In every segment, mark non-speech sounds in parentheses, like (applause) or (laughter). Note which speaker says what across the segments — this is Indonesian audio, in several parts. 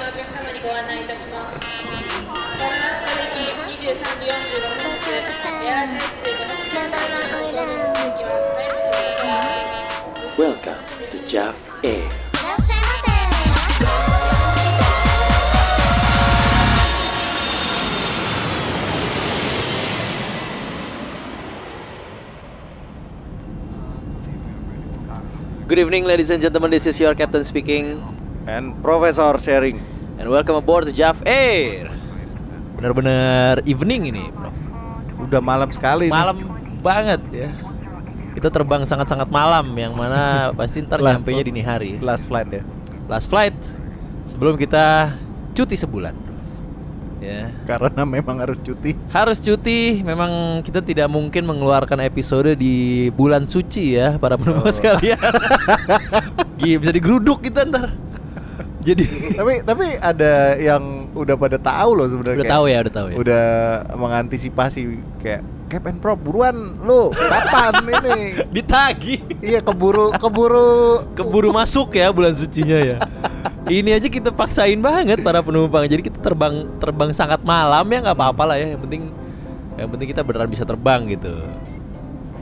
Speaker 1: ご案内いたします。ご覧のために23時45分発、エアースの席は早くお願いします。
Speaker 2: Welcome to Jap Air.
Speaker 3: いらっしゃいま
Speaker 4: Good evening, ladies and gentlemen. This is your captain speaking,
Speaker 5: and Professor Sharing.
Speaker 4: and welcome aboard the Jav Air. Benar-benar evening ini, Prof.
Speaker 5: Udah malam sekali.
Speaker 4: Malam banget ya. Kita terbang sangat-sangat malam, yang mana pasti ntar
Speaker 5: Lah,
Speaker 4: nyampe dini hari.
Speaker 5: nih. Last flight ya.
Speaker 4: Last flight sebelum kita cuti sebulan, Prof. Ya.
Speaker 5: Karena memang harus cuti.
Speaker 4: Harus cuti, memang kita tidak mungkin mengeluarkan episode di bulan suci ya para penonton
Speaker 5: Oh.
Speaker 4: sekalian.
Speaker 5: (laughs)
Speaker 4: Gih, bisa digeruduk kita ntar. Jadi
Speaker 5: (laughs) tapi tapi ada yang udah pada tahu loh sebenarnya.
Speaker 4: Udah
Speaker 5: kayak
Speaker 4: tahu ya, udah tahu ya.
Speaker 5: Udah mengantisipasi kayak Cap and Pro buruan lo
Speaker 4: (laughs)
Speaker 5: kapan ini?
Speaker 4: ditagi.
Speaker 5: Iya keburu keburu
Speaker 4: Keburu masuk ya bulan sucinya ya. Ini aja kita paksain banget para penumpang. Jadi kita terbang terbang sangat malam ya nggak apa-apa lah ya. Yang penting yang penting kita beneran bisa terbang gitu.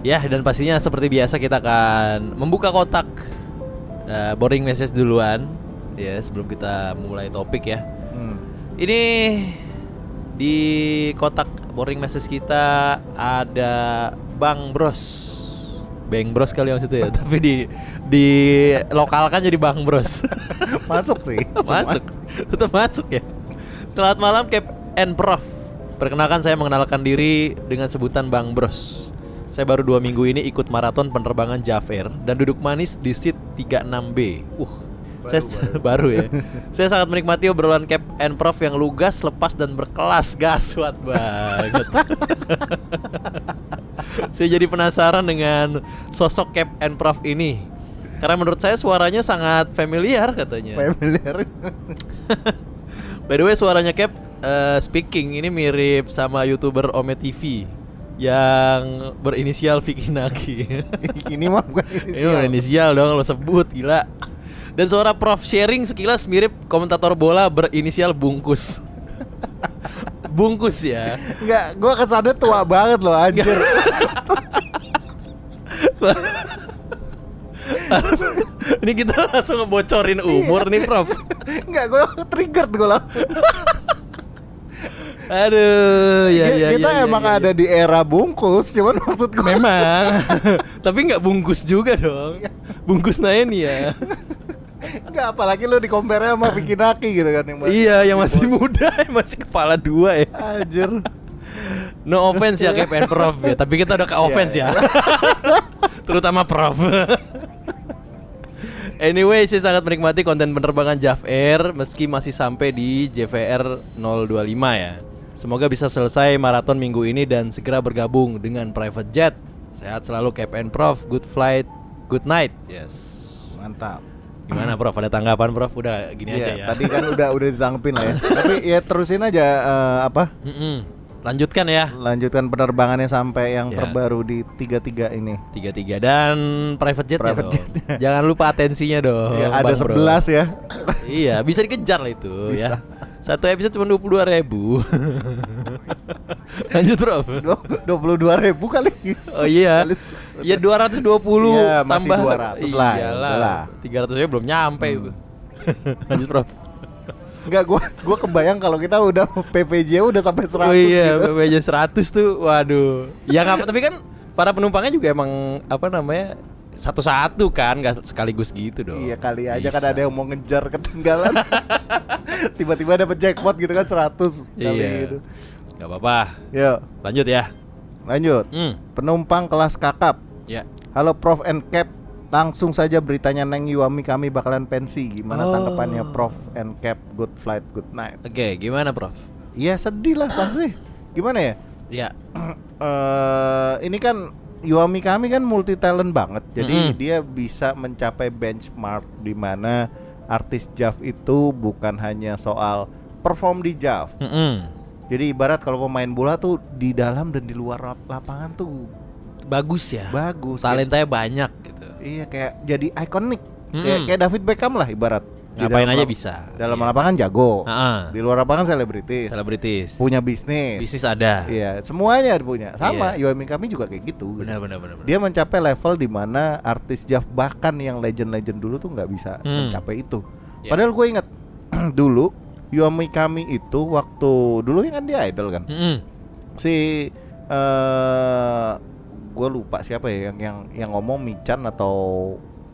Speaker 4: Ya dan pastinya seperti biasa kita akan membuka kotak eh, boring message duluan ya sebelum kita mulai topik ya.
Speaker 5: Hmm.
Speaker 4: Ini di kotak boring message kita ada Bang Bros. Bang Bros kali maksudnya ya, (laughs) tapi di di lokal kan jadi Bang Bros. (laughs)
Speaker 5: masuk sih. semua.
Speaker 4: masuk. Tetap masuk ya. Selamat malam Cap and Prof. Perkenalkan saya mengenalkan diri dengan sebutan Bang Bros. Saya baru dua minggu ini ikut maraton penerbangan Jafair dan duduk manis di seat 36B. Uh, saya (laughs) baru, ya. saya sangat menikmati obrolan Cap and Prof yang lugas, lepas dan berkelas. Gaswat banget. (laughs) saya jadi penasaran dengan sosok Cap and Prof ini. Karena menurut saya suaranya sangat familiar katanya.
Speaker 5: Familiar.
Speaker 4: By the way suaranya Cap eh, speaking ini mirip sama youtuber Ome TV yang berinisial Vicky
Speaker 5: (laughs)
Speaker 4: Naki.
Speaker 5: ini mah bukan ini
Speaker 4: Ini mah inisial dong lo sebut gila. Dan suara Prof sharing sekilas mirip komentator bola berinisial
Speaker 5: (laughs)
Speaker 4: Bungkus. Bungkus ya.
Speaker 5: Enggak, gua kesana tua banget loh anjir.
Speaker 4: Ini kita langsung ngebocorin umur nih Prof.
Speaker 5: Enggak, gua triggered gua langsung.
Speaker 4: Aduh, ya
Speaker 5: Ki-
Speaker 4: ya
Speaker 5: Iya. kita
Speaker 4: ya, ya,
Speaker 5: emang
Speaker 4: ya, ya.
Speaker 5: ada di era bungkus, cuman maksud gue
Speaker 4: Memang. (laughs) Tapi nggak bungkus juga dong.
Speaker 5: Iya.
Speaker 4: Bungkus Naeni
Speaker 5: (laughs)
Speaker 4: ya.
Speaker 5: Enggak, apalagi lu di compare (laughs) sama Vicky Naki gitu kan yang masih-
Speaker 4: iya, yang masih muda, (laughs) yang masih kepala dua ya.
Speaker 5: Anjir.
Speaker 4: No offense ya Cap and Prof ya, tapi kita
Speaker 5: Iya,
Speaker 4: udah ke offense ya. (laughs) Terutama Prof. anyway, saya sangat menikmati konten penerbangan Jav Air meski masih sampai di JVR 025 ya. Semoga bisa selesai maraton minggu ini dan segera bergabung dengan private jet. Sehat selalu Cap and Prof. Good flight, good night. Yes.
Speaker 5: Mantap.
Speaker 4: Gimana Prof? Ada tanggapan Prof? Udah gini aja
Speaker 5: Iya,
Speaker 4: ya.
Speaker 5: Tadi kan
Speaker 4: (laughs)
Speaker 5: udah udah ditanggepin lah ya. (laughs) Tapi ya terusin aja eh, apa?
Speaker 4: Mm-mm. Lanjutkan ya.
Speaker 5: Lanjutkan penerbangannya sampai yang
Speaker 4: Iya.
Speaker 5: terbaru di 33 ini.
Speaker 4: tiga tiga dan private jetnya
Speaker 5: Private
Speaker 4: dong. (laughs) Jangan lupa atensinya dong.
Speaker 5: Ya, ada
Speaker 4: Bang Bro.
Speaker 5: 11 ya.
Speaker 4: Iya, bisa dikejar lah itu
Speaker 5: Bisa.
Speaker 4: ya. Satu episode cuma dua puluh dua ribu. (laughs) Lanjut bro.
Speaker 5: 22 ribu kali.
Speaker 4: Oh iya,
Speaker 5: Kali
Speaker 4: ya 220
Speaker 5: Iya, masih
Speaker 4: tambah
Speaker 5: 200 lah, Hmm.
Speaker 4: Iyalah,
Speaker 5: udahlah.
Speaker 4: 300 aja belum nyampe itu. (laughs) Lanjut bro.
Speaker 5: Enggak, gua gua kebayang kalau kita udah PPJ udah sampai 100
Speaker 4: oh iya,
Speaker 5: gitu.
Speaker 4: PPJ 100 tuh, waduh. Ya nggak apa, tapi kan para penumpangnya juga emang apa namanya satu-satu kan, nggak sekaligus gitu dong.
Speaker 5: Iya kali aja kan
Speaker 4: Bisa.
Speaker 5: ada yang mau ngejar ketinggalan.
Speaker 4: (laughs)
Speaker 5: Tiba-tiba dapat jackpot gitu kan 100 kali
Speaker 4: Iya.
Speaker 5: gitu.
Speaker 4: Gak apa-apa.
Speaker 5: Yuk,
Speaker 4: Lanjut ya.
Speaker 5: lanjut.
Speaker 4: Hmm.
Speaker 5: Penumpang kelas kakap.
Speaker 4: Ya.
Speaker 5: Halo Prof and Cap. Langsung saja beritanya Neng Yuami kami bakalan pensi. Gimana
Speaker 4: Oh.
Speaker 5: tanggapannya Prof and Cap? Good flight, good night.
Speaker 4: Oke, gimana, Prof?
Speaker 5: Iya sedih lah pasti. Gimana ya? (clears throat)
Speaker 4: Ya.
Speaker 5: eh ini kan Yuami kami kan multi talent banget. Jadi
Speaker 4: Mm-mm.
Speaker 5: dia bisa mencapai benchmark di mana artis Jav itu bukan hanya soal perform di Jav. Jadi ibarat kalau pemain bola tuh di dalam dan di luar lap- lapangan tuh
Speaker 4: Bagus ya.
Speaker 5: bagus.
Speaker 4: Talentanya banyak gitu.
Speaker 5: Kayak- iya kayak jadi ikonik. Kayak,
Speaker 4: Mm-mm.
Speaker 5: kayak David Beckham lah ibarat. Di
Speaker 4: Ngapain
Speaker 5: dalam
Speaker 4: aja
Speaker 5: lap-
Speaker 4: bisa.
Speaker 5: Dalam
Speaker 4: Iya.
Speaker 5: lapangan jago.
Speaker 4: Ah-ah.
Speaker 5: Di luar lapangan selebritis.
Speaker 4: Selebritis.
Speaker 5: Punya bisnis.
Speaker 4: bisnis ada.
Speaker 5: Iya, semuanya ada punya. Sama
Speaker 4: Iya.
Speaker 5: UMI kami juga kayak gitu.
Speaker 4: Benar benar benar. benar.
Speaker 5: Dia mencapai level di mana artis Jav bahkan yang legend-legend dulu tuh nggak bisa
Speaker 4: Hmm.
Speaker 5: mencapai itu.
Speaker 4: Iya.
Speaker 5: Padahal gue ingat (clears throat) dulu Yuami kami itu waktu dulu kan dia idol kan.
Speaker 4: Mm-mm.
Speaker 5: si eh gue lupa siapa ya yang yang yang ngomong Michan atau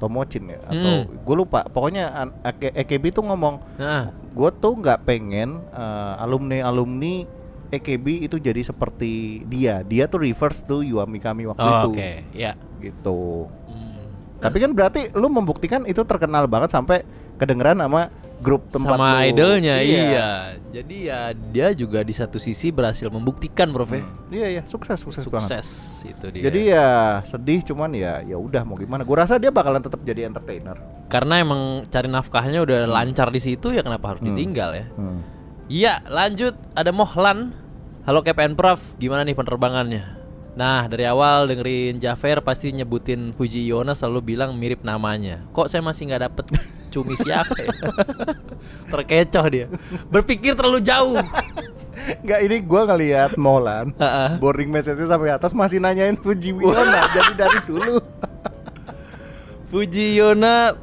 Speaker 5: Tomocin ya atau
Speaker 4: Mm.
Speaker 5: gue lupa pokoknya an- AK EKB tuh ngomong
Speaker 4: Ah,
Speaker 5: gue tuh nggak pengen eh, alumni alumni EKB itu jadi seperti dia dia tuh reverse tuh Yuami kami waktu
Speaker 4: oh,
Speaker 5: itu
Speaker 4: Oke, ya.
Speaker 5: gitu
Speaker 4: Mm.
Speaker 5: tapi kan berarti lu membuktikan itu terkenal banget sampai kedengeran sama grup tempat
Speaker 4: Sama
Speaker 5: lu.
Speaker 4: idolnya, iya. Jadi ya dia juga di satu sisi berhasil membuktikan, Prof. ya.
Speaker 5: iya iya sukses sukses, banget
Speaker 4: Sukses itu dia.
Speaker 5: Jadi ya sedih cuman ya ya udah mau gimana. Gua rasa dia bakalan tetap jadi entertainer.
Speaker 4: karena emang cari nafkahnya udah lancar di situ ya kenapa harus
Speaker 5: Hmm.
Speaker 4: ditinggal ya? Iya, lanjut ada Mohlan. Halo KPN Prof, gimana nih penerbangannya? Nah, dari awal dengerin Jafer pasti nyebutin Fuji Yona selalu bilang mirip namanya. Kok saya masih nggak dapet cumi siapa ya? Terkecoh dia. Berpikir terlalu jauh.
Speaker 5: Enggak ini gua ngelihat Molan.
Speaker 4: Heeh.
Speaker 5: boarding message-nya sampai atas masih nanyain Fuji Wiyona jadi dari
Speaker 4: (laughs)
Speaker 5: dulu.
Speaker 4: Fuji Yona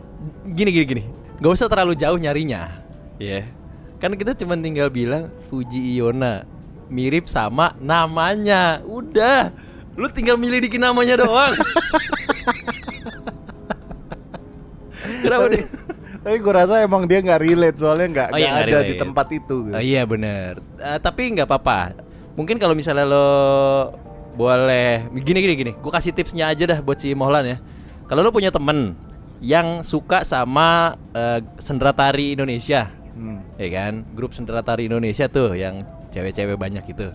Speaker 4: gini gini gini. Gak usah terlalu jauh nyarinya. Ya. Kan kita cuma tinggal bilang Fuji Yona mirip sama namanya. Udah. Lu tinggal milih namanya doang. Kenapa
Speaker 5: tapi,
Speaker 4: dia?
Speaker 5: tapi gua rasa emang dia nggak relate soalnya nggak
Speaker 4: Oh iya,
Speaker 5: nggak
Speaker 4: nggak
Speaker 5: ada di
Speaker 4: relate.
Speaker 5: tempat itu. gitu.
Speaker 4: Oh iya bener Eh, Tapi nggak apa-apa Mungkin kalau misalnya lo boleh Gini gini gini Gue kasih tipsnya aja dah buat si Mohlan ya Kalau lo punya temen Yang suka sama eh, sendera tari Indonesia
Speaker 5: Hmm.
Speaker 4: Ya kan Grup sendera tari Indonesia tuh Yang cewek-cewek banyak gitu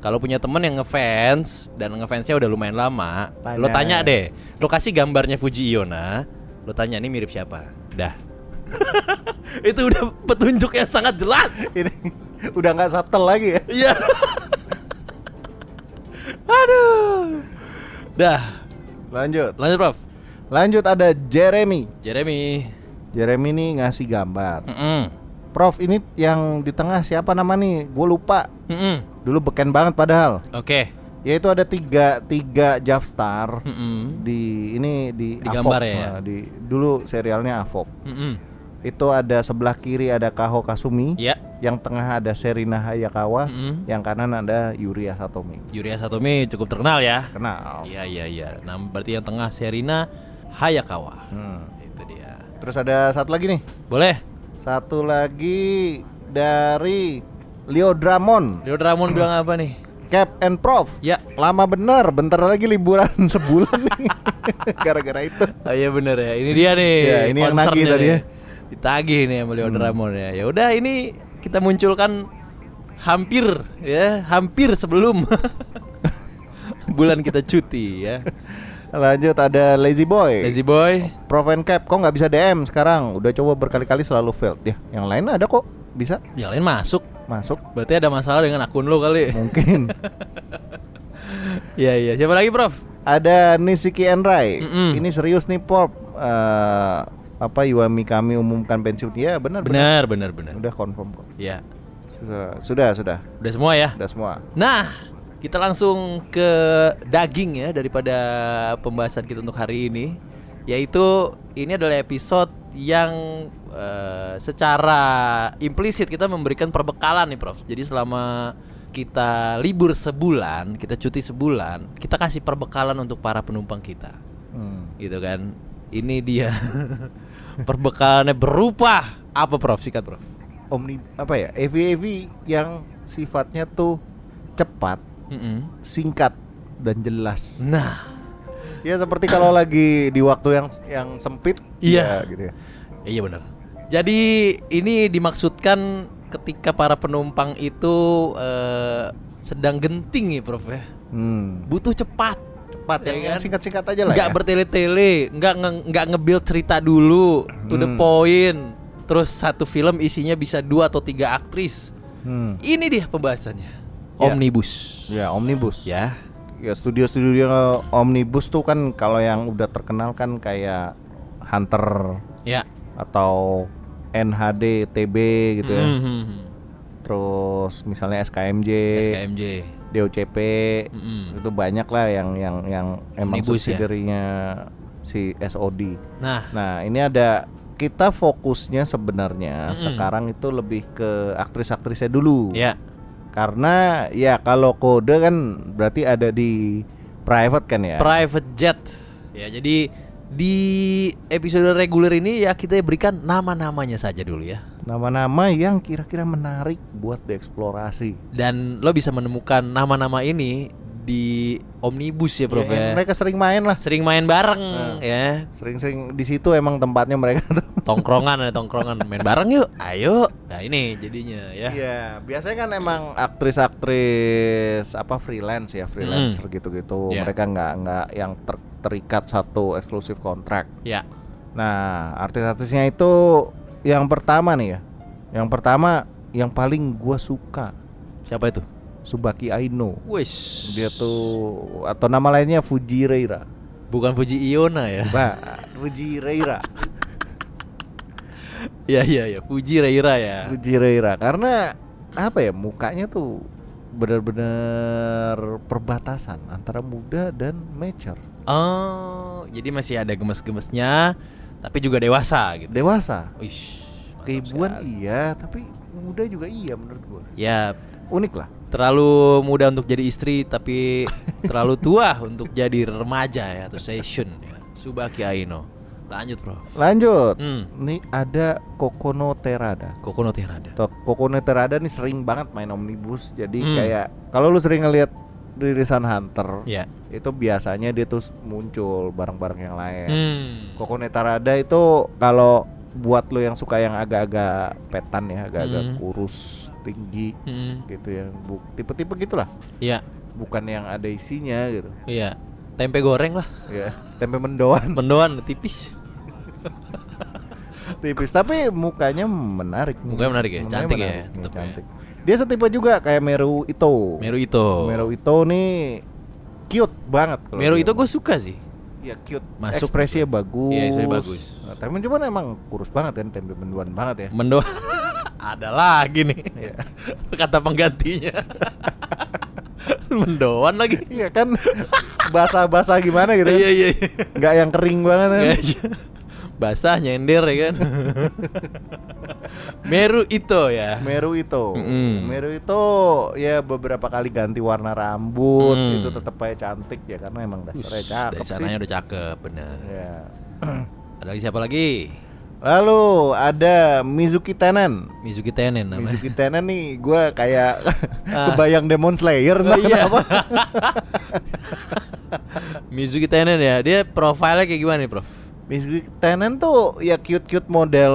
Speaker 4: Kalau punya temen yang ngefans Dan ngefansnya udah lumayan lama Lo
Speaker 5: Tanya.
Speaker 4: tanya deh Lo kasih gambarnya Fuji Iona Lo tanya ini mirip siapa Dah (laughs) Itu udah petunjuk yang sangat jelas
Speaker 5: Ini (laughs) udah nggak subtle lagi ya.
Speaker 4: Iya. Aduh. Dah,
Speaker 5: Lanjut.
Speaker 4: lanjut Prof.
Speaker 5: Lanjut ada Jeremy.
Speaker 4: Jeremy.
Speaker 5: Jeremy nih ngasih gambar.
Speaker 4: Mm-mm.
Speaker 5: Prof ini yang di tengah siapa nama nih? Gue lupa.
Speaker 4: Mm-mm.
Speaker 5: Dulu beken banget padahal.
Speaker 4: Oke.
Speaker 5: Yaitu ada tiga tiga Javstar
Speaker 4: Mm-mm.
Speaker 5: di ini di,
Speaker 4: Di gambar
Speaker 5: Avok,
Speaker 4: Hmm. ya?
Speaker 5: nah, di dulu serialnya Avok.
Speaker 4: Mm-mm.
Speaker 5: Itu ada sebelah kiri ada Kaho Kasumi,
Speaker 4: Ya.
Speaker 5: yang tengah ada Serina Hayakawa,
Speaker 4: Mm-mm.
Speaker 5: yang kanan ada Yuri Asatomi.
Speaker 4: Yuria Satomi cukup terkenal ya.
Speaker 5: Kenal.
Speaker 4: Iya, iya, iya. Nah, berarti yang tengah Serina Hayakawa.
Speaker 5: Hmm.
Speaker 4: Itu dia.
Speaker 5: Terus ada satu lagi nih.
Speaker 4: Boleh.
Speaker 5: Satu lagi dari Leodramon,
Speaker 4: Leo Ramon bilang apa nih?
Speaker 5: Cap and Prof.
Speaker 4: Ya.
Speaker 5: Lama bener, bentar lagi liburan (laughs) sebulan nih. Gara-gara itu.
Speaker 4: Oh iya bener ya. Ini dia nih.
Speaker 5: Iya, ini yang
Speaker 4: concernnya
Speaker 5: nagih tadi
Speaker 4: nih.
Speaker 5: ya. Hmm.
Speaker 4: Ditagih nih sama Leo Ramon ya. Ya udah ini kita munculkan hampir ya, hampir sebelum (laughs) bulan kita cuti ya.
Speaker 5: Lanjut ada Lazy Boy.
Speaker 4: Lazy Boy.
Speaker 5: Prof and Cap, kok nggak bisa DM sekarang? Udah coba berkali-kali selalu failed ya. Yang lain ada kok, bisa
Speaker 4: Yang Ya, lain masuk. (laughs)
Speaker 5: masuk
Speaker 4: Berarti ada masalah dengan akun lo kali.
Speaker 5: mungkin.
Speaker 4: Iya iya. Siapa lagi, Prof?
Speaker 5: ada Nishiki Enrai.
Speaker 4: Mm-mm.
Speaker 5: Ini serius nih Prof. Eh, apa Yuami kami umumkan pensiun? Ya benar benar.
Speaker 4: Benar, benar, benar.
Speaker 5: Udah confirm kok.
Speaker 4: Ya.
Speaker 5: Sudah sudah sudah
Speaker 4: Udah semua ya.
Speaker 5: sudah semua.
Speaker 4: Nah, kita langsung ke daging ya daripada pembahasan kita untuk hari ini, yaitu ini adalah episode yang eh, secara implisit kita memberikan perbekalan nih, Prof. Jadi selama kita libur sebulan, kita cuti sebulan, kita kasih perbekalan untuk para penumpang kita,
Speaker 5: Hmm.
Speaker 4: gitu kan? Ini dia (laughs) perbekalannya berupa apa, Prof? Sikat, Prof.
Speaker 5: Omni apa ya? EV EV yang sifatnya tuh cepat,
Speaker 4: Mm-mm.
Speaker 5: singkat dan jelas.
Speaker 4: Nah,
Speaker 5: Ya seperti kalau lagi di waktu yang yang sempit.
Speaker 4: Iya.
Speaker 5: ya, gitu ya.
Speaker 4: Ya, Iya benar. Jadi ini dimaksudkan ketika para penumpang itu eh, sedang genting ya Prof ya.
Speaker 5: Hmm.
Speaker 4: Butuh cepat.
Speaker 5: Cepat
Speaker 4: Ya
Speaker 5: yang
Speaker 4: kan?
Speaker 5: yang singkat-singkat aja lah.
Speaker 4: Nggak
Speaker 5: ya.
Speaker 4: bertele-tele, nggak nge- nggak nge-build cerita dulu, to the
Speaker 5: Hmm.
Speaker 4: point. Terus satu film isinya bisa dua atau tiga aktris.
Speaker 5: Hmm.
Speaker 4: Ini dia pembahasannya.
Speaker 5: Ya.
Speaker 4: Omnibus.
Speaker 5: Ya omnibus.
Speaker 4: Ya.
Speaker 5: Ya studio-studio omnibus tuh kan kalau yang udah terkenal kan kayak Hunter
Speaker 4: Ya.
Speaker 5: atau NHD TB gitu ya.
Speaker 4: Mhm.
Speaker 5: Terus misalnya SKMJ,
Speaker 4: SKMJ.
Speaker 5: DOCP
Speaker 4: Mhm.
Speaker 5: itu banyak lah yang yang yang emang
Speaker 4: Omnibus ya?
Speaker 5: subsidiarinya si SOD.
Speaker 4: Nah,
Speaker 5: Nah, ini ada kita fokusnya sebenarnya
Speaker 4: Mm-mm.
Speaker 5: sekarang itu lebih ke aktris-aktrisnya dulu.
Speaker 4: Hmm. ya.
Speaker 5: Karena ya kalau kode kan berarti ada di private kan ya.
Speaker 4: Private Jet. Ya, jadi di episode reguler ini ya kita berikan nama-namanya saja dulu ya.
Speaker 5: Nama-nama yang kira-kira menarik buat dieksplorasi.
Speaker 4: Dan lo bisa menemukan nama-nama ini di Omnibus ya, Prof.
Speaker 5: Ya,
Speaker 4: Ya,
Speaker 5: mereka sering main lah.
Speaker 4: Sering main bareng
Speaker 5: Nah.
Speaker 4: ya.
Speaker 5: Sering-sering di situ emang tempatnya mereka tuh.
Speaker 4: Tongkrongan ada tongkrongan main bareng yuk. Ayo. Nah, ini jadinya ya.
Speaker 5: Iya, biasanya kan emang aktris-aktris apa freelance ya, freelancer gitu-gitu.
Speaker 4: Iya.
Speaker 5: Mereka nggak nggak yang ter- terikat satu eksklusif kontrak.
Speaker 4: Ya.
Speaker 5: Nah, artis-artisnya itu yang pertama nih ya. Yang pertama yang paling gua suka
Speaker 4: Siapa itu?
Speaker 5: Subaki Aino.
Speaker 4: Wis.
Speaker 5: Dia tuh atau nama lainnya Fuji Reira.
Speaker 4: bukan Fuji Iona ya.
Speaker 5: Bah, Fuji Reira.
Speaker 4: (laughs) Iya iya iya, Fuji Reira ya.
Speaker 5: Fuji Reira karena apa ya mukanya tuh benar-benar perbatasan antara muda dan mature.
Speaker 4: Oh, jadi masih ada gemes-gemesnya tapi juga dewasa gitu.
Speaker 5: Dewasa.
Speaker 4: Wih.
Speaker 5: Keibuan iya, tapi muda juga iya menurut gua.
Speaker 4: Ya,
Speaker 5: Unik lah.
Speaker 4: terlalu muda untuk jadi istri (laughs) tapi terlalu tua untuk jadi remaja ya atau session ya. Subaki Aino. Lanjut, Bro.
Speaker 5: Lanjut.
Speaker 4: Hmm.
Speaker 5: Nih ada Kokono Terada.
Speaker 4: Kokono Terada.
Speaker 5: Tok- Kokono Terada nih sering banget main omnibus. Jadi
Speaker 4: Hmm.
Speaker 5: kayak kalau lu sering ngeliat rilisan Hunter,
Speaker 4: Ya.
Speaker 5: itu biasanya dia tuh muncul bareng-bareng yang lain.
Speaker 4: Hmm.
Speaker 5: Kokono Terada itu kalau buat lu yang suka yang agak-agak petan ya, agak-agak
Speaker 4: Hmm.
Speaker 5: kurus, tinggi
Speaker 4: Hmm.
Speaker 5: gitu ya. Bu- tipe-tipe gitulah.
Speaker 4: Iya,
Speaker 5: Bukan yang ada isinya gitu.
Speaker 4: iya. Tempe goreng (laughs) lah,
Speaker 5: Ya, tempe mendoan
Speaker 4: mendoan tipis.
Speaker 5: tipis, tapi mukanya menarik.
Speaker 4: Mukanya menarik ya, cantik ya,
Speaker 5: menarik,
Speaker 4: tetep ya.
Speaker 5: cantik. Dia setipe juga kayak Meru Ito.
Speaker 4: Meru Ito.
Speaker 5: Mero Ito nih cute banget kalau
Speaker 4: Meru
Speaker 5: dia.
Speaker 4: itu gue suka sih.
Speaker 5: ya cute.
Speaker 4: Masuk
Speaker 5: Ekspresinya gitu. bagus.
Speaker 4: Iya, ekspresinya bagus.
Speaker 5: Nah, tapi cuman emang kurus banget kan, tempe menduan banget ya.
Speaker 4: Mendoan (laughs) ada lagi nih.
Speaker 5: Iya.
Speaker 4: Kata (laughs) penggantinya. Mendoan lagi.
Speaker 5: (laughs) Iya kan (laughs) basah-basah gimana gitu.
Speaker 4: Iya
Speaker 5: kan?
Speaker 4: iya.
Speaker 5: Nggak yang kering banget kan.
Speaker 4: iya. Basah nyender ya kan. Meru Ito ya.
Speaker 5: Meru Ito.
Speaker 4: Mm-mm.
Speaker 5: Meru Ito ya beberapa kali ganti warna rambut
Speaker 4: Mm.
Speaker 5: itu tetap aja cantik ya karena emang dasarnya
Speaker 4: Ush,
Speaker 5: cakep
Speaker 4: Dari
Speaker 5: sih.
Speaker 4: sananya udah cakep bener.
Speaker 5: Ya.
Speaker 4: Ada lagi siapa lagi?
Speaker 5: Lalu ada Mizuki Tenen.
Speaker 4: Mizuki Tenen namanya. (laughs)
Speaker 5: Mizuki Tenen nih gue kayak
Speaker 4: Ah.
Speaker 5: (laughs) kebayang Demon Slayer
Speaker 4: Oh,
Speaker 5: entah
Speaker 4: iya.
Speaker 5: kenapa. (laughs)
Speaker 4: Mizuki Tenen ya. Dia profilnya kayak gimana nih, Prof?
Speaker 5: Mizuki Tenen tuh ya cute-cute model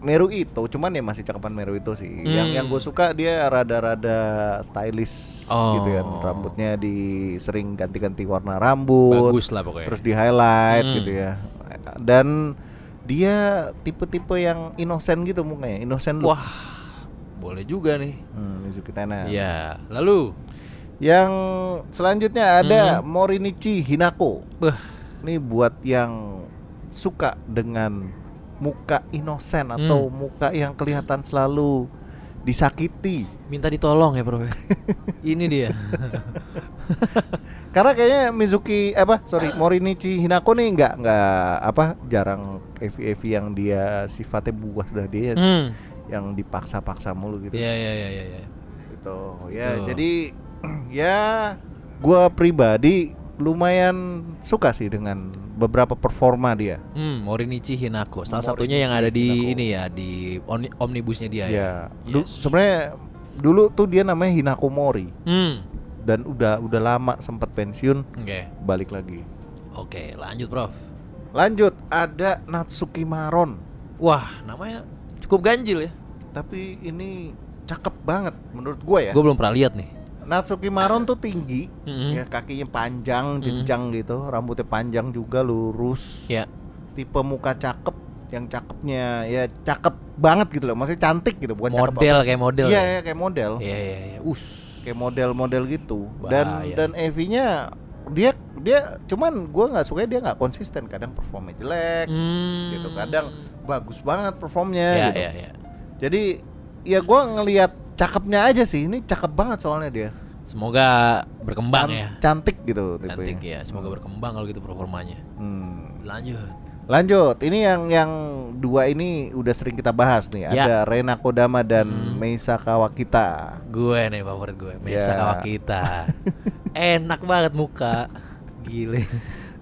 Speaker 5: Meru itu, cuman ya masih cakepan Meru itu sih. Yang
Speaker 4: Hmm.
Speaker 5: yang gue suka dia rada-rada stylish
Speaker 4: Oh.
Speaker 5: gitu kan, rambutnya di sering ganti-ganti warna rambut,
Speaker 4: Bagus lah pokoknya.
Speaker 5: terus di highlight
Speaker 4: Hmm.
Speaker 5: gitu ya. Dan dia tipe-tipe yang innocent gitu mukanya, innocent look.
Speaker 4: Wah. Boleh juga nih.
Speaker 5: Hmm, Mizuki Tenen.
Speaker 4: Iya. Lalu,
Speaker 5: Yang selanjutnya ada Morinichi Hinako.
Speaker 4: Beh.
Speaker 5: Ini buat yang suka dengan muka inosen atau muka yang kelihatan selalu disakiti.
Speaker 4: minta ditolong ya,
Speaker 5: (laughs)
Speaker 4: Prof. Ini dia.
Speaker 5: Karena kayaknya Mizuki eh, apa sorry Morinichi Hinako nih nggak nggak apa jarang EV-EV yang dia sifatnya buas dah dia
Speaker 4: Hmm.
Speaker 5: yang dipaksa-paksa mulu gitu.
Speaker 4: Iya iya iya iya. iya.
Speaker 5: gitu ya
Speaker 4: Betul.
Speaker 5: jadi (clears throat) ya gua pribadi lumayan suka sih dengan beberapa performa dia
Speaker 4: Hmm, Morinichi Hinako.
Speaker 5: Morinichi
Speaker 4: Salah satunya yang ada di
Speaker 5: Hinako.
Speaker 4: ini ya di omni- omnibusnya dia ya.
Speaker 5: ya Du-
Speaker 4: Yes.
Speaker 5: sebenarnya dulu tuh dia namanya Hinako Mori
Speaker 4: Hmm.
Speaker 5: dan udah udah lama sempat pensiun
Speaker 4: Oke.
Speaker 5: balik lagi
Speaker 4: Oke, lanjut, Prof.
Speaker 5: lanjut ada Natsuki Maron
Speaker 4: Wah, namanya cukup ganjil ya.
Speaker 5: tapi ini cakep banget menurut gua ya
Speaker 4: Gue belum pernah lihat nih.
Speaker 5: Natsuki Maron tuh tinggi
Speaker 4: Mm-mm.
Speaker 5: ya kakinya panjang
Speaker 4: Mm-mm.
Speaker 5: jenjang gitu rambutnya panjang juga lurus
Speaker 4: Ya.
Speaker 5: tipe muka cakep yang cakepnya ya cakep banget gitu loh maksudnya cantik gitu bukan cakep
Speaker 4: model kayak
Speaker 5: apa.
Speaker 4: model.
Speaker 5: iya
Speaker 4: ya.
Speaker 5: iya, kayak model
Speaker 4: Iya, iya, iya. Us.
Speaker 5: kayak model-model gitu dan
Speaker 4: Bahaya.
Speaker 5: dan Evinya dia dia cuman gue nggak suka dia nggak konsisten kadang performnya jelek
Speaker 4: Hmm.
Speaker 5: gitu kadang bagus banget performnya
Speaker 4: ya,
Speaker 5: gitu.
Speaker 4: ya, ya.
Speaker 5: jadi ya gue ngelihat cakepnya aja sih ini cakep banget soalnya dia
Speaker 4: Semoga berkembang
Speaker 5: Can-
Speaker 4: ya.
Speaker 5: cantik gitu tipenya.
Speaker 4: Cantik ya. Semoga berkembang kalau gitu performanya.
Speaker 5: Hmm.
Speaker 4: Lanjut.
Speaker 5: lanjut ini yang yang dua ini udah sering kita bahas nih
Speaker 4: Ya.
Speaker 5: ada Rena Kodama dan
Speaker 4: Hmm.
Speaker 5: Meisa Kawakita
Speaker 4: Gue nih favorit gue, Mesa
Speaker 5: Ya. (laughs)
Speaker 4: Kawakita. Enak banget muka. Gile.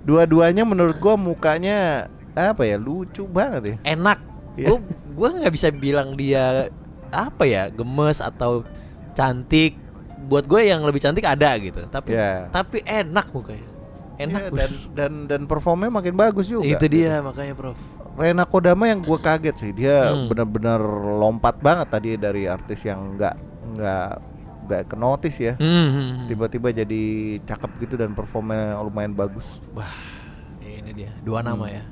Speaker 5: dua-duanya menurut gue mukanya apa ya lucu banget ya
Speaker 4: Enak.
Speaker 5: Iya.
Speaker 4: Gue gue nggak bisa bilang dia apa ya, gemes atau cantik. Buat gue yang lebih cantik ada gitu. Tapi
Speaker 5: Ya.
Speaker 4: tapi enak mukanya.
Speaker 5: Iya,
Speaker 4: Enak. bus.
Speaker 5: dan dan dan performnya makin bagus juga gitu.
Speaker 4: Itu dia makanya, Prof.
Speaker 5: Rena Kodama yang gue kaget sih dia
Speaker 4: Hmm.
Speaker 5: benar-benar lompat banget tadi dari artis yang nggak nggak nggak kenotis ya
Speaker 4: Hmm.
Speaker 5: tiba-tiba jadi cakep gitu dan performnya lumayan bagus
Speaker 4: Wah, ini dia. Dua nama
Speaker 5: Hmm.
Speaker 4: ya.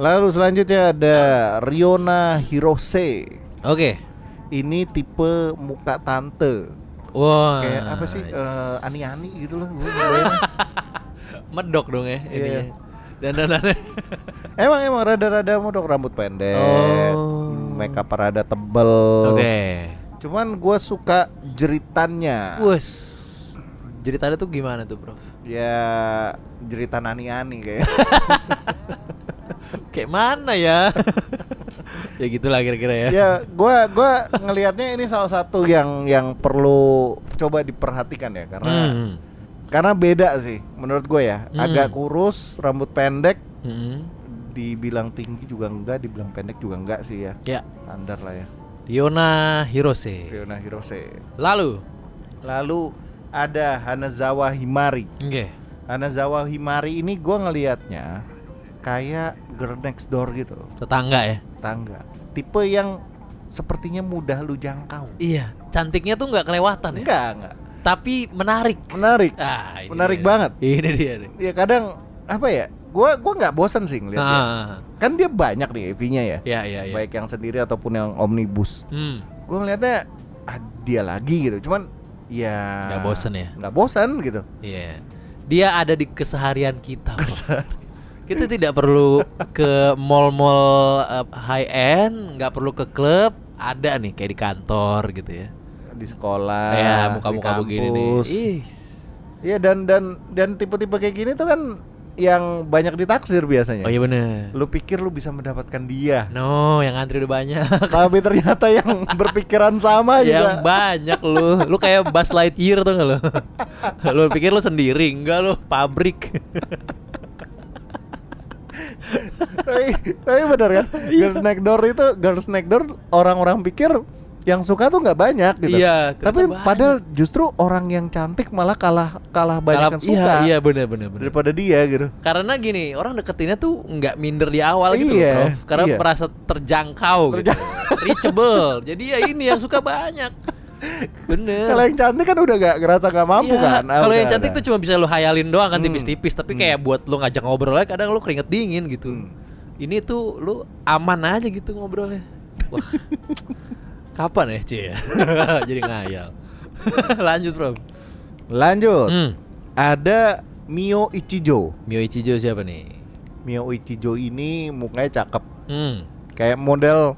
Speaker 5: lalu selanjutnya ada Riona Hirose
Speaker 4: Oke.
Speaker 5: ini tipe muka tante
Speaker 4: Wah.
Speaker 5: kayak apa sih eh, ani-ani gitu loh gua
Speaker 4: (laughs)
Speaker 5: ngebayang.
Speaker 4: Medok dong ya
Speaker 5: Iya.
Speaker 4: ini. Dan dan
Speaker 5: emang emang rada-rada modok rambut pendek
Speaker 4: Oh.
Speaker 5: make up rada tebel
Speaker 4: Oke.
Speaker 5: cuman gue suka jeritannya
Speaker 4: Wes. Jadi tadi tuh gimana tuh,
Speaker 5: (laughs)
Speaker 4: Prof?
Speaker 5: Ya cerita nani-ani
Speaker 4: (laughs)
Speaker 5: kayak.
Speaker 4: Kayak mana ya? (laughs) ya gitulah kira-kira ya.
Speaker 5: ya gua gua ngelihatnya ini salah satu yang yang perlu coba diperhatikan ya karena
Speaker 4: Hmm.
Speaker 5: karena beda sih menurut gue ya.
Speaker 4: Hmm.
Speaker 5: Agak kurus, rambut pendek,
Speaker 4: Hmm.
Speaker 5: dibilang tinggi juga enggak, dibilang pendek juga enggak sih ya.
Speaker 4: Ya,
Speaker 5: Standar lah ya.
Speaker 4: Yona Hirose.
Speaker 5: Fiona Hirose.
Speaker 4: Lalu,
Speaker 5: Lalu ada Hanazawa Himari.
Speaker 4: oke.
Speaker 5: Hanazawa Himari ini gua ngelihatnya kayak girl next door gitu.
Speaker 4: Tetangga ya.
Speaker 5: tangga tipe yang sepertinya mudah lu jangkau
Speaker 4: Iya, cantiknya tuh nggak kelewatan ya.
Speaker 5: enggak enggak
Speaker 4: Tapi menarik.
Speaker 5: menarik
Speaker 4: Ah, ini
Speaker 5: Menarik
Speaker 4: dia.
Speaker 5: banget.
Speaker 4: Ini dia nih.
Speaker 5: ya kadang apa ya gua gua nggak bosan sih ngeliatnya
Speaker 4: Nah,
Speaker 5: kan dia banyak nih EV-nya ya
Speaker 4: ya ya ya.
Speaker 5: baik yang sendiri ataupun yang omnibus
Speaker 4: Hmm.
Speaker 5: gua ngeliatnya ah, dia lagi gitu cuman ya
Speaker 4: Nggak bosen ya?
Speaker 5: nggak bosan gitu
Speaker 4: Iya. Dia ada di keseharian kita. Prof. Kita tidak perlu ke mall-mall eh, high end, nggak perlu ke klub, ada nih kayak di kantor gitu ya.
Speaker 5: di sekolah
Speaker 4: ya
Speaker 5: Ah, di
Speaker 4: muka-muka begini nih.
Speaker 5: kampus.
Speaker 4: Ih.
Speaker 5: iya dan dan dan tipe-tipe kayak gini tuh kan yang banyak ditaksir biasanya
Speaker 4: Oh iya bener.
Speaker 5: lu pikir lu bisa mendapatkan dia
Speaker 4: No, yang antri udah banyak.
Speaker 5: (laughs) tapi ternyata yang (laughs) berpikiran sama
Speaker 4: yang
Speaker 5: Ah, juga
Speaker 4: banyak lu. Lu kayak Buzz Lightyear tuh nggak lu? (laughs) lu pikir lu sendiri? Enggak lu, pabrik.
Speaker 5: tapi, tapi bener kan
Speaker 4: Iya.
Speaker 5: girls next door itu girls next door orang-orang pikir yang suka tuh nggak banyak gitu
Speaker 4: Iya, ternyata
Speaker 5: tapi
Speaker 4: banyak.
Speaker 5: padahal justru orang yang cantik malah kalah kalah banyak yang
Speaker 4: Kalau-
Speaker 5: suka
Speaker 4: Iya, iya bener bener bener.
Speaker 5: daripada dia gitu
Speaker 4: Karena gini, orang deketinnya tuh nggak minder di awal gitu
Speaker 5: Iya,
Speaker 4: loh, Prof. Karena
Speaker 5: iya.
Speaker 4: merasa terjangkau
Speaker 5: Terjang- (laughs)
Speaker 4: gitu. Reachable. Jadi ya ini yang suka banyak. Bener.
Speaker 5: kalau yang cantik kan udah nggak ngerasa nggak mampu
Speaker 4: Iya,
Speaker 5: kan Ah,
Speaker 4: Kalau yang
Speaker 5: udah,
Speaker 4: cantik
Speaker 5: udah.
Speaker 4: tuh cuma bisa lu hayalin doang kan
Speaker 5: Hmm.
Speaker 4: tipis-tipis, tapi
Speaker 5: Hmm.
Speaker 4: kayak buat lu ngajak ngobrol aja kadang lu keringet dingin gitu.
Speaker 5: Hmm.
Speaker 4: Ini tuh lu aman aja gitu ngobrolnya. Wah.
Speaker 5: (laughs)
Speaker 4: Kapan ya, Cie? Jadi ngayal. (laughs) Lanjut, Bro.
Speaker 5: lanjut
Speaker 4: Hmm.
Speaker 5: ada Mio Ichijo
Speaker 4: Mio Ichijo siapa nih?
Speaker 5: Mio Ichijo ini mukanya cakep
Speaker 4: Hmm.
Speaker 5: kayak model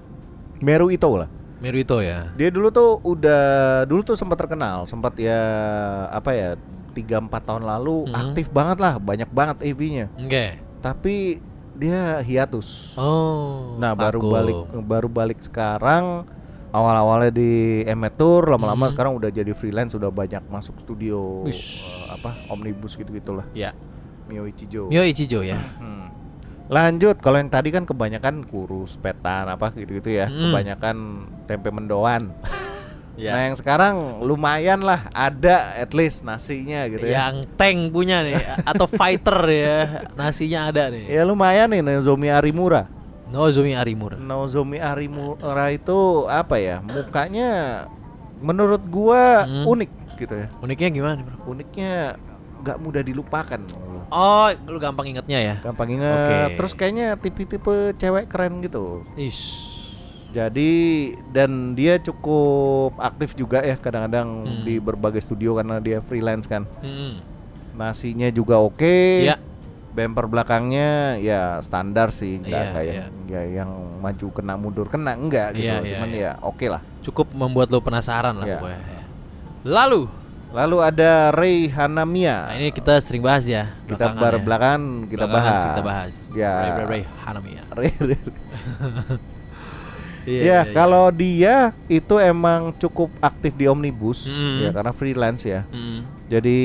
Speaker 5: Meru Ito lah
Speaker 4: Meruito ya.
Speaker 5: Dia dulu tuh udah dulu tuh sempat terkenal, sempat ya apa ya tiga empat tahun lalu
Speaker 4: Mhm.
Speaker 5: aktif banget lah, banyak banget EV-nya.
Speaker 4: Oke.
Speaker 5: Tapi dia hiatus.
Speaker 4: Oh.
Speaker 5: nah baru
Speaker 4: vakum.
Speaker 5: balik baru balik sekarang awal-awalnya di Emet Tour lama-lama
Speaker 4: Mhm.
Speaker 5: sekarang udah jadi freelance udah banyak masuk studio
Speaker 4: Wish.
Speaker 5: eh, apa omnibus gitu gitulah
Speaker 4: Ya.
Speaker 5: Mio Ichijo.
Speaker 4: Mio Ichijo
Speaker 5: (clears throat)
Speaker 4: ya.
Speaker 5: Hmm. Lanjut kalau yang tadi kan kebanyakan kurus petan apa gitu-gitu ya,
Speaker 4: Mhm.
Speaker 5: kebanyakan tempe
Speaker 4: (laughs)
Speaker 5: mendoan.
Speaker 4: Ya.
Speaker 5: Nah yang sekarang lumayan lah ada at least nasinya gitu ya.
Speaker 4: Yang tank punya nih atau fighter
Speaker 5: (laughs)
Speaker 4: ya. Nasinya ada nih.
Speaker 5: Ya lumayan nih Nozomi Arimura.
Speaker 4: Nozumi Arimura.
Speaker 5: Nozomi Arimura itu apa ya? Mukanya menurut gua
Speaker 4: Hmm.
Speaker 5: unik gitu ya.
Speaker 4: Uniknya gimana, Bro?
Speaker 5: Uniknya nggak mudah dilupakan.
Speaker 4: Oh, lu gampang ingetnya ya.
Speaker 5: Gampang ingat.
Speaker 4: Oke.
Speaker 5: Terus kayaknya tipe-tipe cewek keren gitu.
Speaker 4: Ish.
Speaker 5: Jadi dan dia cukup aktif juga ya kadang-kadang
Speaker 4: Hmm.
Speaker 5: di berbagai studio karena dia freelance kan.
Speaker 4: Mm-mm.
Speaker 5: Nasinya juga oke.
Speaker 4: Iya.
Speaker 5: Bumper belakangnya ya standar sih, enggak
Speaker 4: Iya,
Speaker 5: kayak
Speaker 4: iya.
Speaker 5: ya yang maju kena mundur kena enggak gitu.
Speaker 4: Iya, iya,
Speaker 5: Cuman
Speaker 4: iya.
Speaker 5: ya oke lah.
Speaker 4: Cukup membuat lo penasaran lah
Speaker 5: Iya.
Speaker 4: pokoknya. ya. Lalu,
Speaker 5: Lalu ada Rei Hanamia.
Speaker 4: nah
Speaker 5: (laughs)
Speaker 4: ini kita sering bahas ya.
Speaker 5: kita
Speaker 4: belakangan
Speaker 5: bar
Speaker 4: ya.
Speaker 5: belakangan kita
Speaker 4: Belakangan
Speaker 5: bahas.
Speaker 4: sih Kita bahas.
Speaker 5: Ya.
Speaker 4: Ray, Ray, Ray Hanami ya.
Speaker 5: Rei- Rei-
Speaker 4: Iya,
Speaker 5: ya,
Speaker 4: iya, iya.
Speaker 5: kalau dia itu emang cukup aktif di omnibus
Speaker 4: Mm.
Speaker 5: ya karena freelance ya.
Speaker 4: Mm.
Speaker 5: Jadi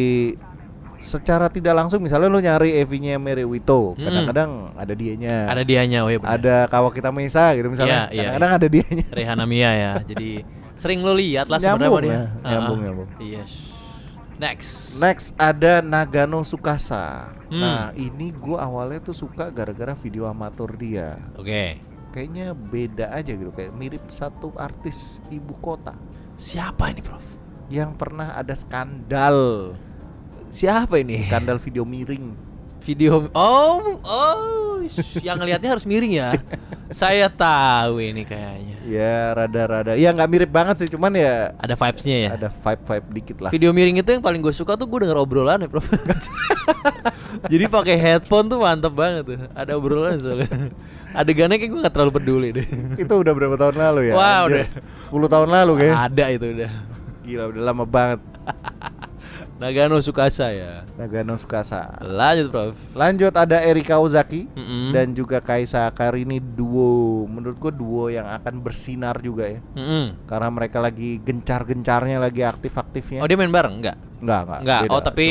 Speaker 5: secara tidak langsung misalnya lu nyari EV-nya Mary Wito,
Speaker 4: Mm.
Speaker 5: kadang-kadang ada dianya.
Speaker 4: Ada dianya, oh iya bener.
Speaker 5: ada Kawakita Mesa gitu misalnya.
Speaker 4: Iya, iya,
Speaker 5: kadang-kadang ada dianya.
Speaker 4: Ray Hanamiya
Speaker 5: (laughs)
Speaker 4: ya. Jadi sering lo lihat lah sebenarnya
Speaker 5: Nyambung
Speaker 4: sama dia.
Speaker 5: ya,
Speaker 4: Ah,
Speaker 5: nyambung,
Speaker 4: ah.
Speaker 5: nyambung.
Speaker 4: Yes. Next.
Speaker 5: Next ada Nagano Sukasa.
Speaker 4: Hmm.
Speaker 5: Nah, ini gua awalnya tuh suka gara-gara video amatur dia.
Speaker 4: Oke.
Speaker 5: Kayaknya beda aja gitu, kayak mirip satu artis ibu kota
Speaker 4: Siapa ini, Prof?
Speaker 5: yang pernah ada skandal,
Speaker 4: Siapa ini?
Speaker 5: skandal video miring.
Speaker 4: Video Oh, oh, sh- yang ngelihatnya harus miring ya. Saya tahu ini kayaknya.
Speaker 5: Ya rada-rada, ya nggak mirip banget sih, cuman ya
Speaker 4: Ada vibes-nya ya.
Speaker 5: ada vibe-vibe dikit lah.
Speaker 4: Video miring itu yang paling gue suka tuh gue denger obrolan ya, Prof. (laughs) Jadi pakai headphone tuh mantep banget tuh. Ada obrolan soalnya. Adegannya kayak gue gak terlalu peduli deh.
Speaker 5: (laughs) itu udah berapa tahun lalu ya?
Speaker 4: Wah, Ah.
Speaker 5: Anjir. 10 tahun lalu kayak.
Speaker 4: Ada itu udah.
Speaker 5: Gila udah lama banget
Speaker 4: Nagano Sukasa ya.
Speaker 5: Nagano Sukasa.
Speaker 4: Lanjut, Prof.
Speaker 5: Lanjut ada Erika Ozaki
Speaker 4: Mm-mm.
Speaker 5: dan juga Kaisa Karini duo. Menurut gua duo yang akan bersinar juga ya.
Speaker 4: Mm-mm.
Speaker 5: Karena mereka lagi gencar-gencarnya lagi aktif-aktifnya.
Speaker 4: Oh, dia main bareng enggak?
Speaker 5: enggak, enggak.
Speaker 4: Enggak.
Speaker 5: Iya. beda.
Speaker 4: Oh, tapi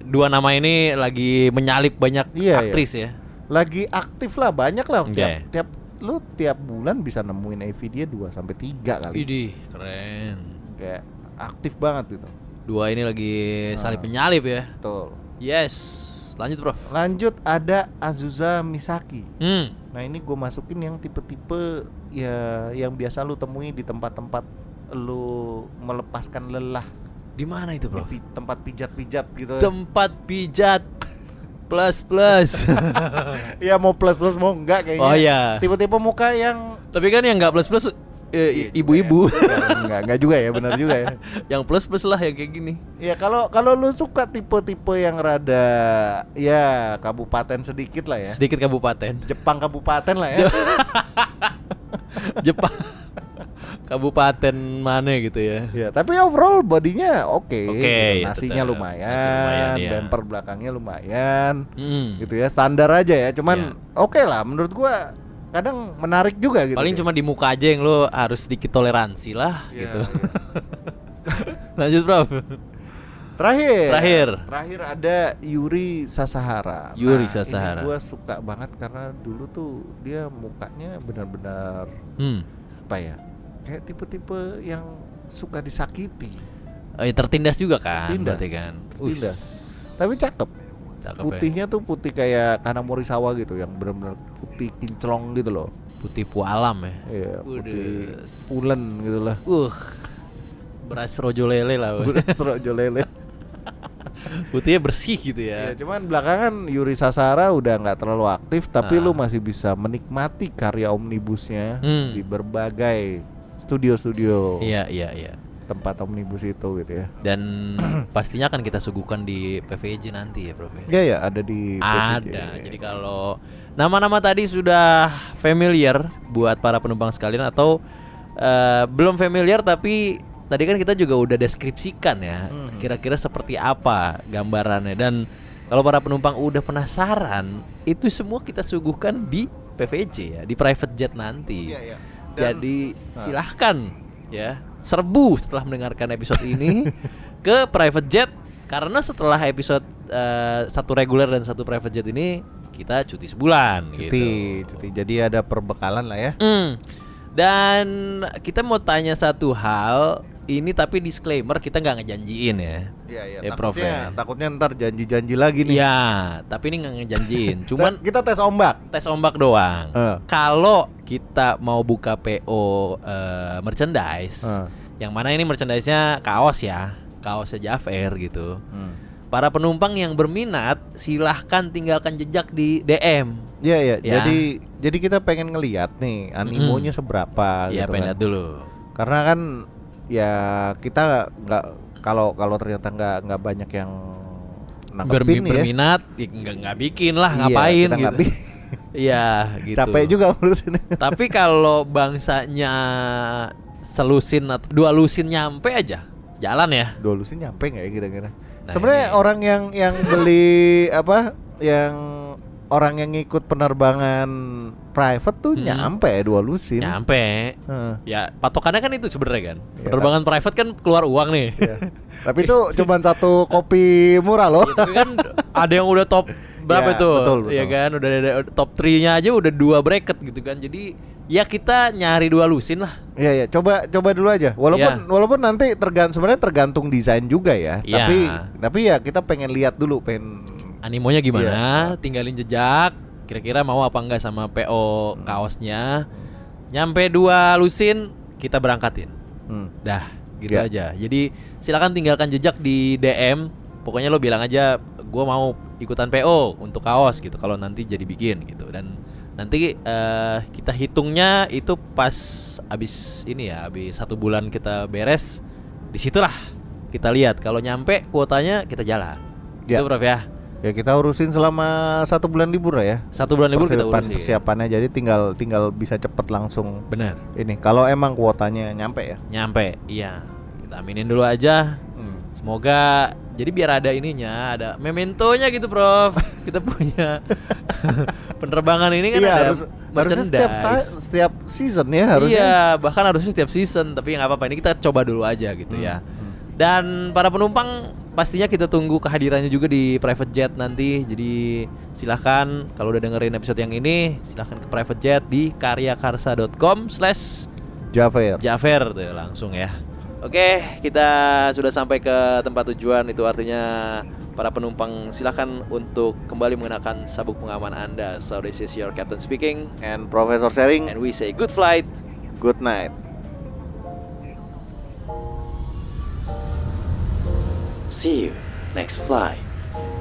Speaker 4: dua nama ini lagi menyalip banyak
Speaker 5: Iya,
Speaker 4: aktris ya.
Speaker 5: Cuman lagi aktif lah banyak lah
Speaker 4: Oke.
Speaker 5: tiap tiap lu tiap bulan bisa nemuin AV dia 2 sampai 3 kali.
Speaker 4: Idih, keren.
Speaker 5: Kayak aktif banget gitu.
Speaker 4: Dua ini lagi salip
Speaker 5: Ah.
Speaker 4: menyalip ya.
Speaker 5: Betul.
Speaker 4: Yes. Lanjut, Prof.
Speaker 5: Lanjut ada Azusa Misaki.
Speaker 4: Hmm.
Speaker 5: Nah ini gue masukin yang tipe-tipe ya yang biasa lu temui di tempat-tempat lu melepaskan lelah
Speaker 4: Di mana
Speaker 5: di
Speaker 4: itu, Prof?
Speaker 5: pi- tempat pijat-pijat gitu.
Speaker 4: Tempat pijat plus
Speaker 5: (laughs)
Speaker 4: plus.
Speaker 5: ya mau plus plus mau enggak kayaknya.
Speaker 4: Oh, iya.
Speaker 5: Tipe-tipe muka yang
Speaker 4: Tapi kan yang nggak plus plus eh,
Speaker 5: Iya juga
Speaker 4: ibu-ibu.
Speaker 5: ya.
Speaker 4: (laughs)
Speaker 5: enggak enggak juga ya benar juga ya.
Speaker 4: yang plus plus lah yang kayak gini.
Speaker 5: Ya kalau kalau lu suka tipe-tipe yang rada ya kabupaten sedikit lah ya.
Speaker 4: Sedikit
Speaker 5: (laughs)
Speaker 4: kabupaten.
Speaker 5: Jepang kabupaten lah ya.
Speaker 4: Jepang. kabupaten mana gitu ya.
Speaker 5: Ya, tapi overall bodinya oke.
Speaker 4: Oke, ya
Speaker 5: nasinya
Speaker 4: tetap.
Speaker 5: lumayan,
Speaker 4: Nasi lumayan, iya.
Speaker 5: bumper belakangnya lumayan.
Speaker 4: Mm.
Speaker 5: gitu ya standar aja ya
Speaker 4: Iya.
Speaker 5: cuman oke lah menurut gua kadang menarik juga gitu
Speaker 4: Paling
Speaker 5: Dek.
Speaker 4: cuma di muka aja yang lo harus sedikit toleransi lah
Speaker 5: Iya,
Speaker 4: gitu.
Speaker 5: iya.
Speaker 4: (laughs) Lanjut, Prof.
Speaker 5: terakhir
Speaker 4: Terakhir.
Speaker 5: terakhir ada Yuri Sasahara Nah,
Speaker 4: Yuri
Speaker 5: ini
Speaker 4: Sasahara.
Speaker 5: gua suka banget karena dulu tuh dia mukanya benar-benar
Speaker 4: Hmm.
Speaker 5: apa ya kayak tipe-tipe yang suka disakiti
Speaker 4: Eh, tertindas juga kan
Speaker 5: Tertindas.
Speaker 4: berarti kan. Ush,
Speaker 5: tidak tapi cakep
Speaker 4: cakep ya.
Speaker 5: putihnya tuh putih kayak Kana Morisawa gitu yang benar-benar putih kinclong gitu loh
Speaker 4: Putih pualam ya.
Speaker 5: Iya, putih
Speaker 4: Waduh.
Speaker 5: pulen gitu lah
Speaker 4: Uh. Beras rojo lele
Speaker 5: (laughs)
Speaker 4: lah. woy.
Speaker 5: Serojo lele
Speaker 4: (laughs) Putihnya bersih gitu
Speaker 5: Ya,
Speaker 4: ya.
Speaker 5: cuman belakangan Yuri Sasara udah nggak terlalu aktif, tapi
Speaker 4: Ah.
Speaker 5: lu masih bisa menikmati karya omnibusnya
Speaker 4: Hmm.
Speaker 5: di berbagai studio-studio
Speaker 4: Iya, iya, iya.
Speaker 5: tempat omnibus itu gitu ya.
Speaker 4: Dan (clears throat) pastinya akan kita suguhkan di PVJ nanti ya, Prof. ya.
Speaker 5: Ya ya ada di PVJ.
Speaker 4: Ada. Jadi kalau nama-nama tadi sudah familiar buat para penumpang sekalian atau eh, belum familiar tapi tadi kan kita juga udah deskripsikan ya
Speaker 5: Hmm.
Speaker 4: kira-kira seperti apa gambarannya dan kalau para penumpang udah penasaran itu semua kita suguhkan di PVJ ya di private jet nanti.
Speaker 5: Iya, iya. Dan- nah.
Speaker 4: Jadi silahkan ya serbu setelah mendengarkan episode
Speaker 5: (laughs)
Speaker 4: ini ke private jet karena setelah episode eh, satu reguler dan satu private jet ini kita cuti sebulan
Speaker 5: cuti,
Speaker 4: gitu.
Speaker 5: cuti. Jadi ada perbekalan lah ya.
Speaker 4: Mm. Dan kita mau tanya satu hal ini tapi disclaimer kita nggak ngejanjiin ya.
Speaker 5: Iya iya.
Speaker 4: Ya, Prof,
Speaker 5: takutnya,
Speaker 4: ya.
Speaker 5: takutnya ntar janji-janji lagi nih.
Speaker 4: Iya, tapi ini nggak
Speaker 5: (laughs)
Speaker 4: ngejanjiin. Cuman
Speaker 5: kita tes ombak.
Speaker 4: tes ombak doang.
Speaker 5: Eh.
Speaker 4: Kalau kita mau buka PO eh, merchandise,
Speaker 5: Eh.
Speaker 4: yang mana ini merchandise-nya kaos ya, kaosnya Jafair gitu.
Speaker 5: Hmm.
Speaker 4: Para penumpang yang berminat silahkan tinggalkan jejak di DM.
Speaker 5: Iya iya.
Speaker 4: Ya.
Speaker 5: Jadi jadi kita pengen ngeliat nih animonya seberapa
Speaker 4: ya
Speaker 5: gitu kan.
Speaker 4: pendat dulu.
Speaker 5: karena kan ya kita nggak kalau kalau ternyata nggak nggak banyak yang
Speaker 4: Bermi-
Speaker 5: nangkepin nih ya.
Speaker 4: berminat ya nggak nggak bikin lah
Speaker 5: Iya,
Speaker 4: ngapain
Speaker 5: kita nggak
Speaker 4: gitu.
Speaker 5: bi-
Speaker 4: (laughs) Iya gitu.
Speaker 5: Capek juga (laughs) ngurusin.
Speaker 4: Tapi kalau bangsanya selusin atau dua lusin nyampe aja jalan ya.
Speaker 5: Dua lusin nyampe nggak ya kira-kira?
Speaker 4: Nah,
Speaker 5: Sebenarnya
Speaker 4: ini-
Speaker 5: orang yang yang
Speaker 4: (laughs)
Speaker 5: beli apa yang orang yang ngikut penerbangan private tuh
Speaker 4: Hmm.
Speaker 5: nyampe ya dua lusin.
Speaker 4: Nyampe.
Speaker 5: Heeh.
Speaker 4: Ya patokannya kan itu sebenarnya kan.
Speaker 5: Iya,
Speaker 4: Penerbangan private kan keluar uang nih.
Speaker 5: Iya. Tapi
Speaker 4: (laughs)
Speaker 5: itu cuman satu kopi murah loh.
Speaker 4: Itu kan ada yang udah top
Speaker 5: Oh.
Speaker 4: berapa
Speaker 5: Iya,
Speaker 4: tuh?
Speaker 5: betul, betul.
Speaker 4: Iya kan udah ada top 3-nya aja udah dua bracket gitu kan. Jadi ya kita nyari dua lusin lah.
Speaker 5: Iya ya, coba coba dulu aja. Walaupun
Speaker 4: Iya.
Speaker 5: walaupun nanti tergan sebenarnya tergantung desain juga ya.
Speaker 4: Iya.
Speaker 5: Tapi tapi ya kita pengen lihat dulu pengen
Speaker 4: animonya gimana,
Speaker 5: Iya.
Speaker 4: tinggalin jejak, kira-kira mau apa enggak sama PO
Speaker 5: Hmm.
Speaker 4: kaosnya. Nyampe dua lusin, kita berangkatin.
Speaker 5: hmm.
Speaker 4: Dah, gitu
Speaker 5: Ya.
Speaker 4: aja. Jadi silakan tinggalkan jejak di DM. Pokoknya lo bilang aja gua mau ikutan PO untuk kaos gitu kalau nanti jadi bikin gitu dan nanti eh, kita hitungnya itu pas abis ini ya abis satu bulan kita beres disitulah kita lihat kalau nyampe kuotanya kita jalan
Speaker 5: Ya.
Speaker 4: itu prof ya
Speaker 5: Ya kita urusin selama satu bulan libur lah ya.
Speaker 4: satu bulan libur kita
Speaker 5: Persiapan-
Speaker 4: urusin
Speaker 5: persiapannya jadi tinggal tinggal bisa cepet langsung
Speaker 4: benar
Speaker 5: ini kalau emang kuotanya nyampe ya.
Speaker 4: nyampe iya kita aminin dulu aja
Speaker 5: Hmm.
Speaker 4: semoga jadi biar ada ininya ada mementonya gitu
Speaker 5: (laughs)
Speaker 4: prof kita punya (laughs) penerbangan ini kan
Speaker 5: Iya
Speaker 4: ada
Speaker 5: harus harusnya setiap sta-
Speaker 4: merchandise.
Speaker 5: setiap season ya harusnya.
Speaker 4: iya bahkan harusnya setiap season tapi nggak apa-apa ini kita coba dulu aja gitu ya
Speaker 5: Hmm,
Speaker 4: dan para penumpang pastinya kita tunggu kehadirannya juga di private jet nanti jadi silahkan kalau udah dengerin episode yang ini silahkan ke private jet di karyakarsa.com slash
Speaker 5: Javer.
Speaker 4: Jafer tuh langsung ya. Oke, kita sudah sampai ke tempat tujuan itu artinya para penumpang silakan untuk kembali mengenakan sabuk pengaman Anda. So this is your captain speaking
Speaker 5: And Profesor Sharing
Speaker 4: and we say good flight.
Speaker 5: good night.
Speaker 2: See you next flight,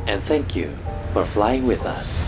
Speaker 2: and thank you for flying with us.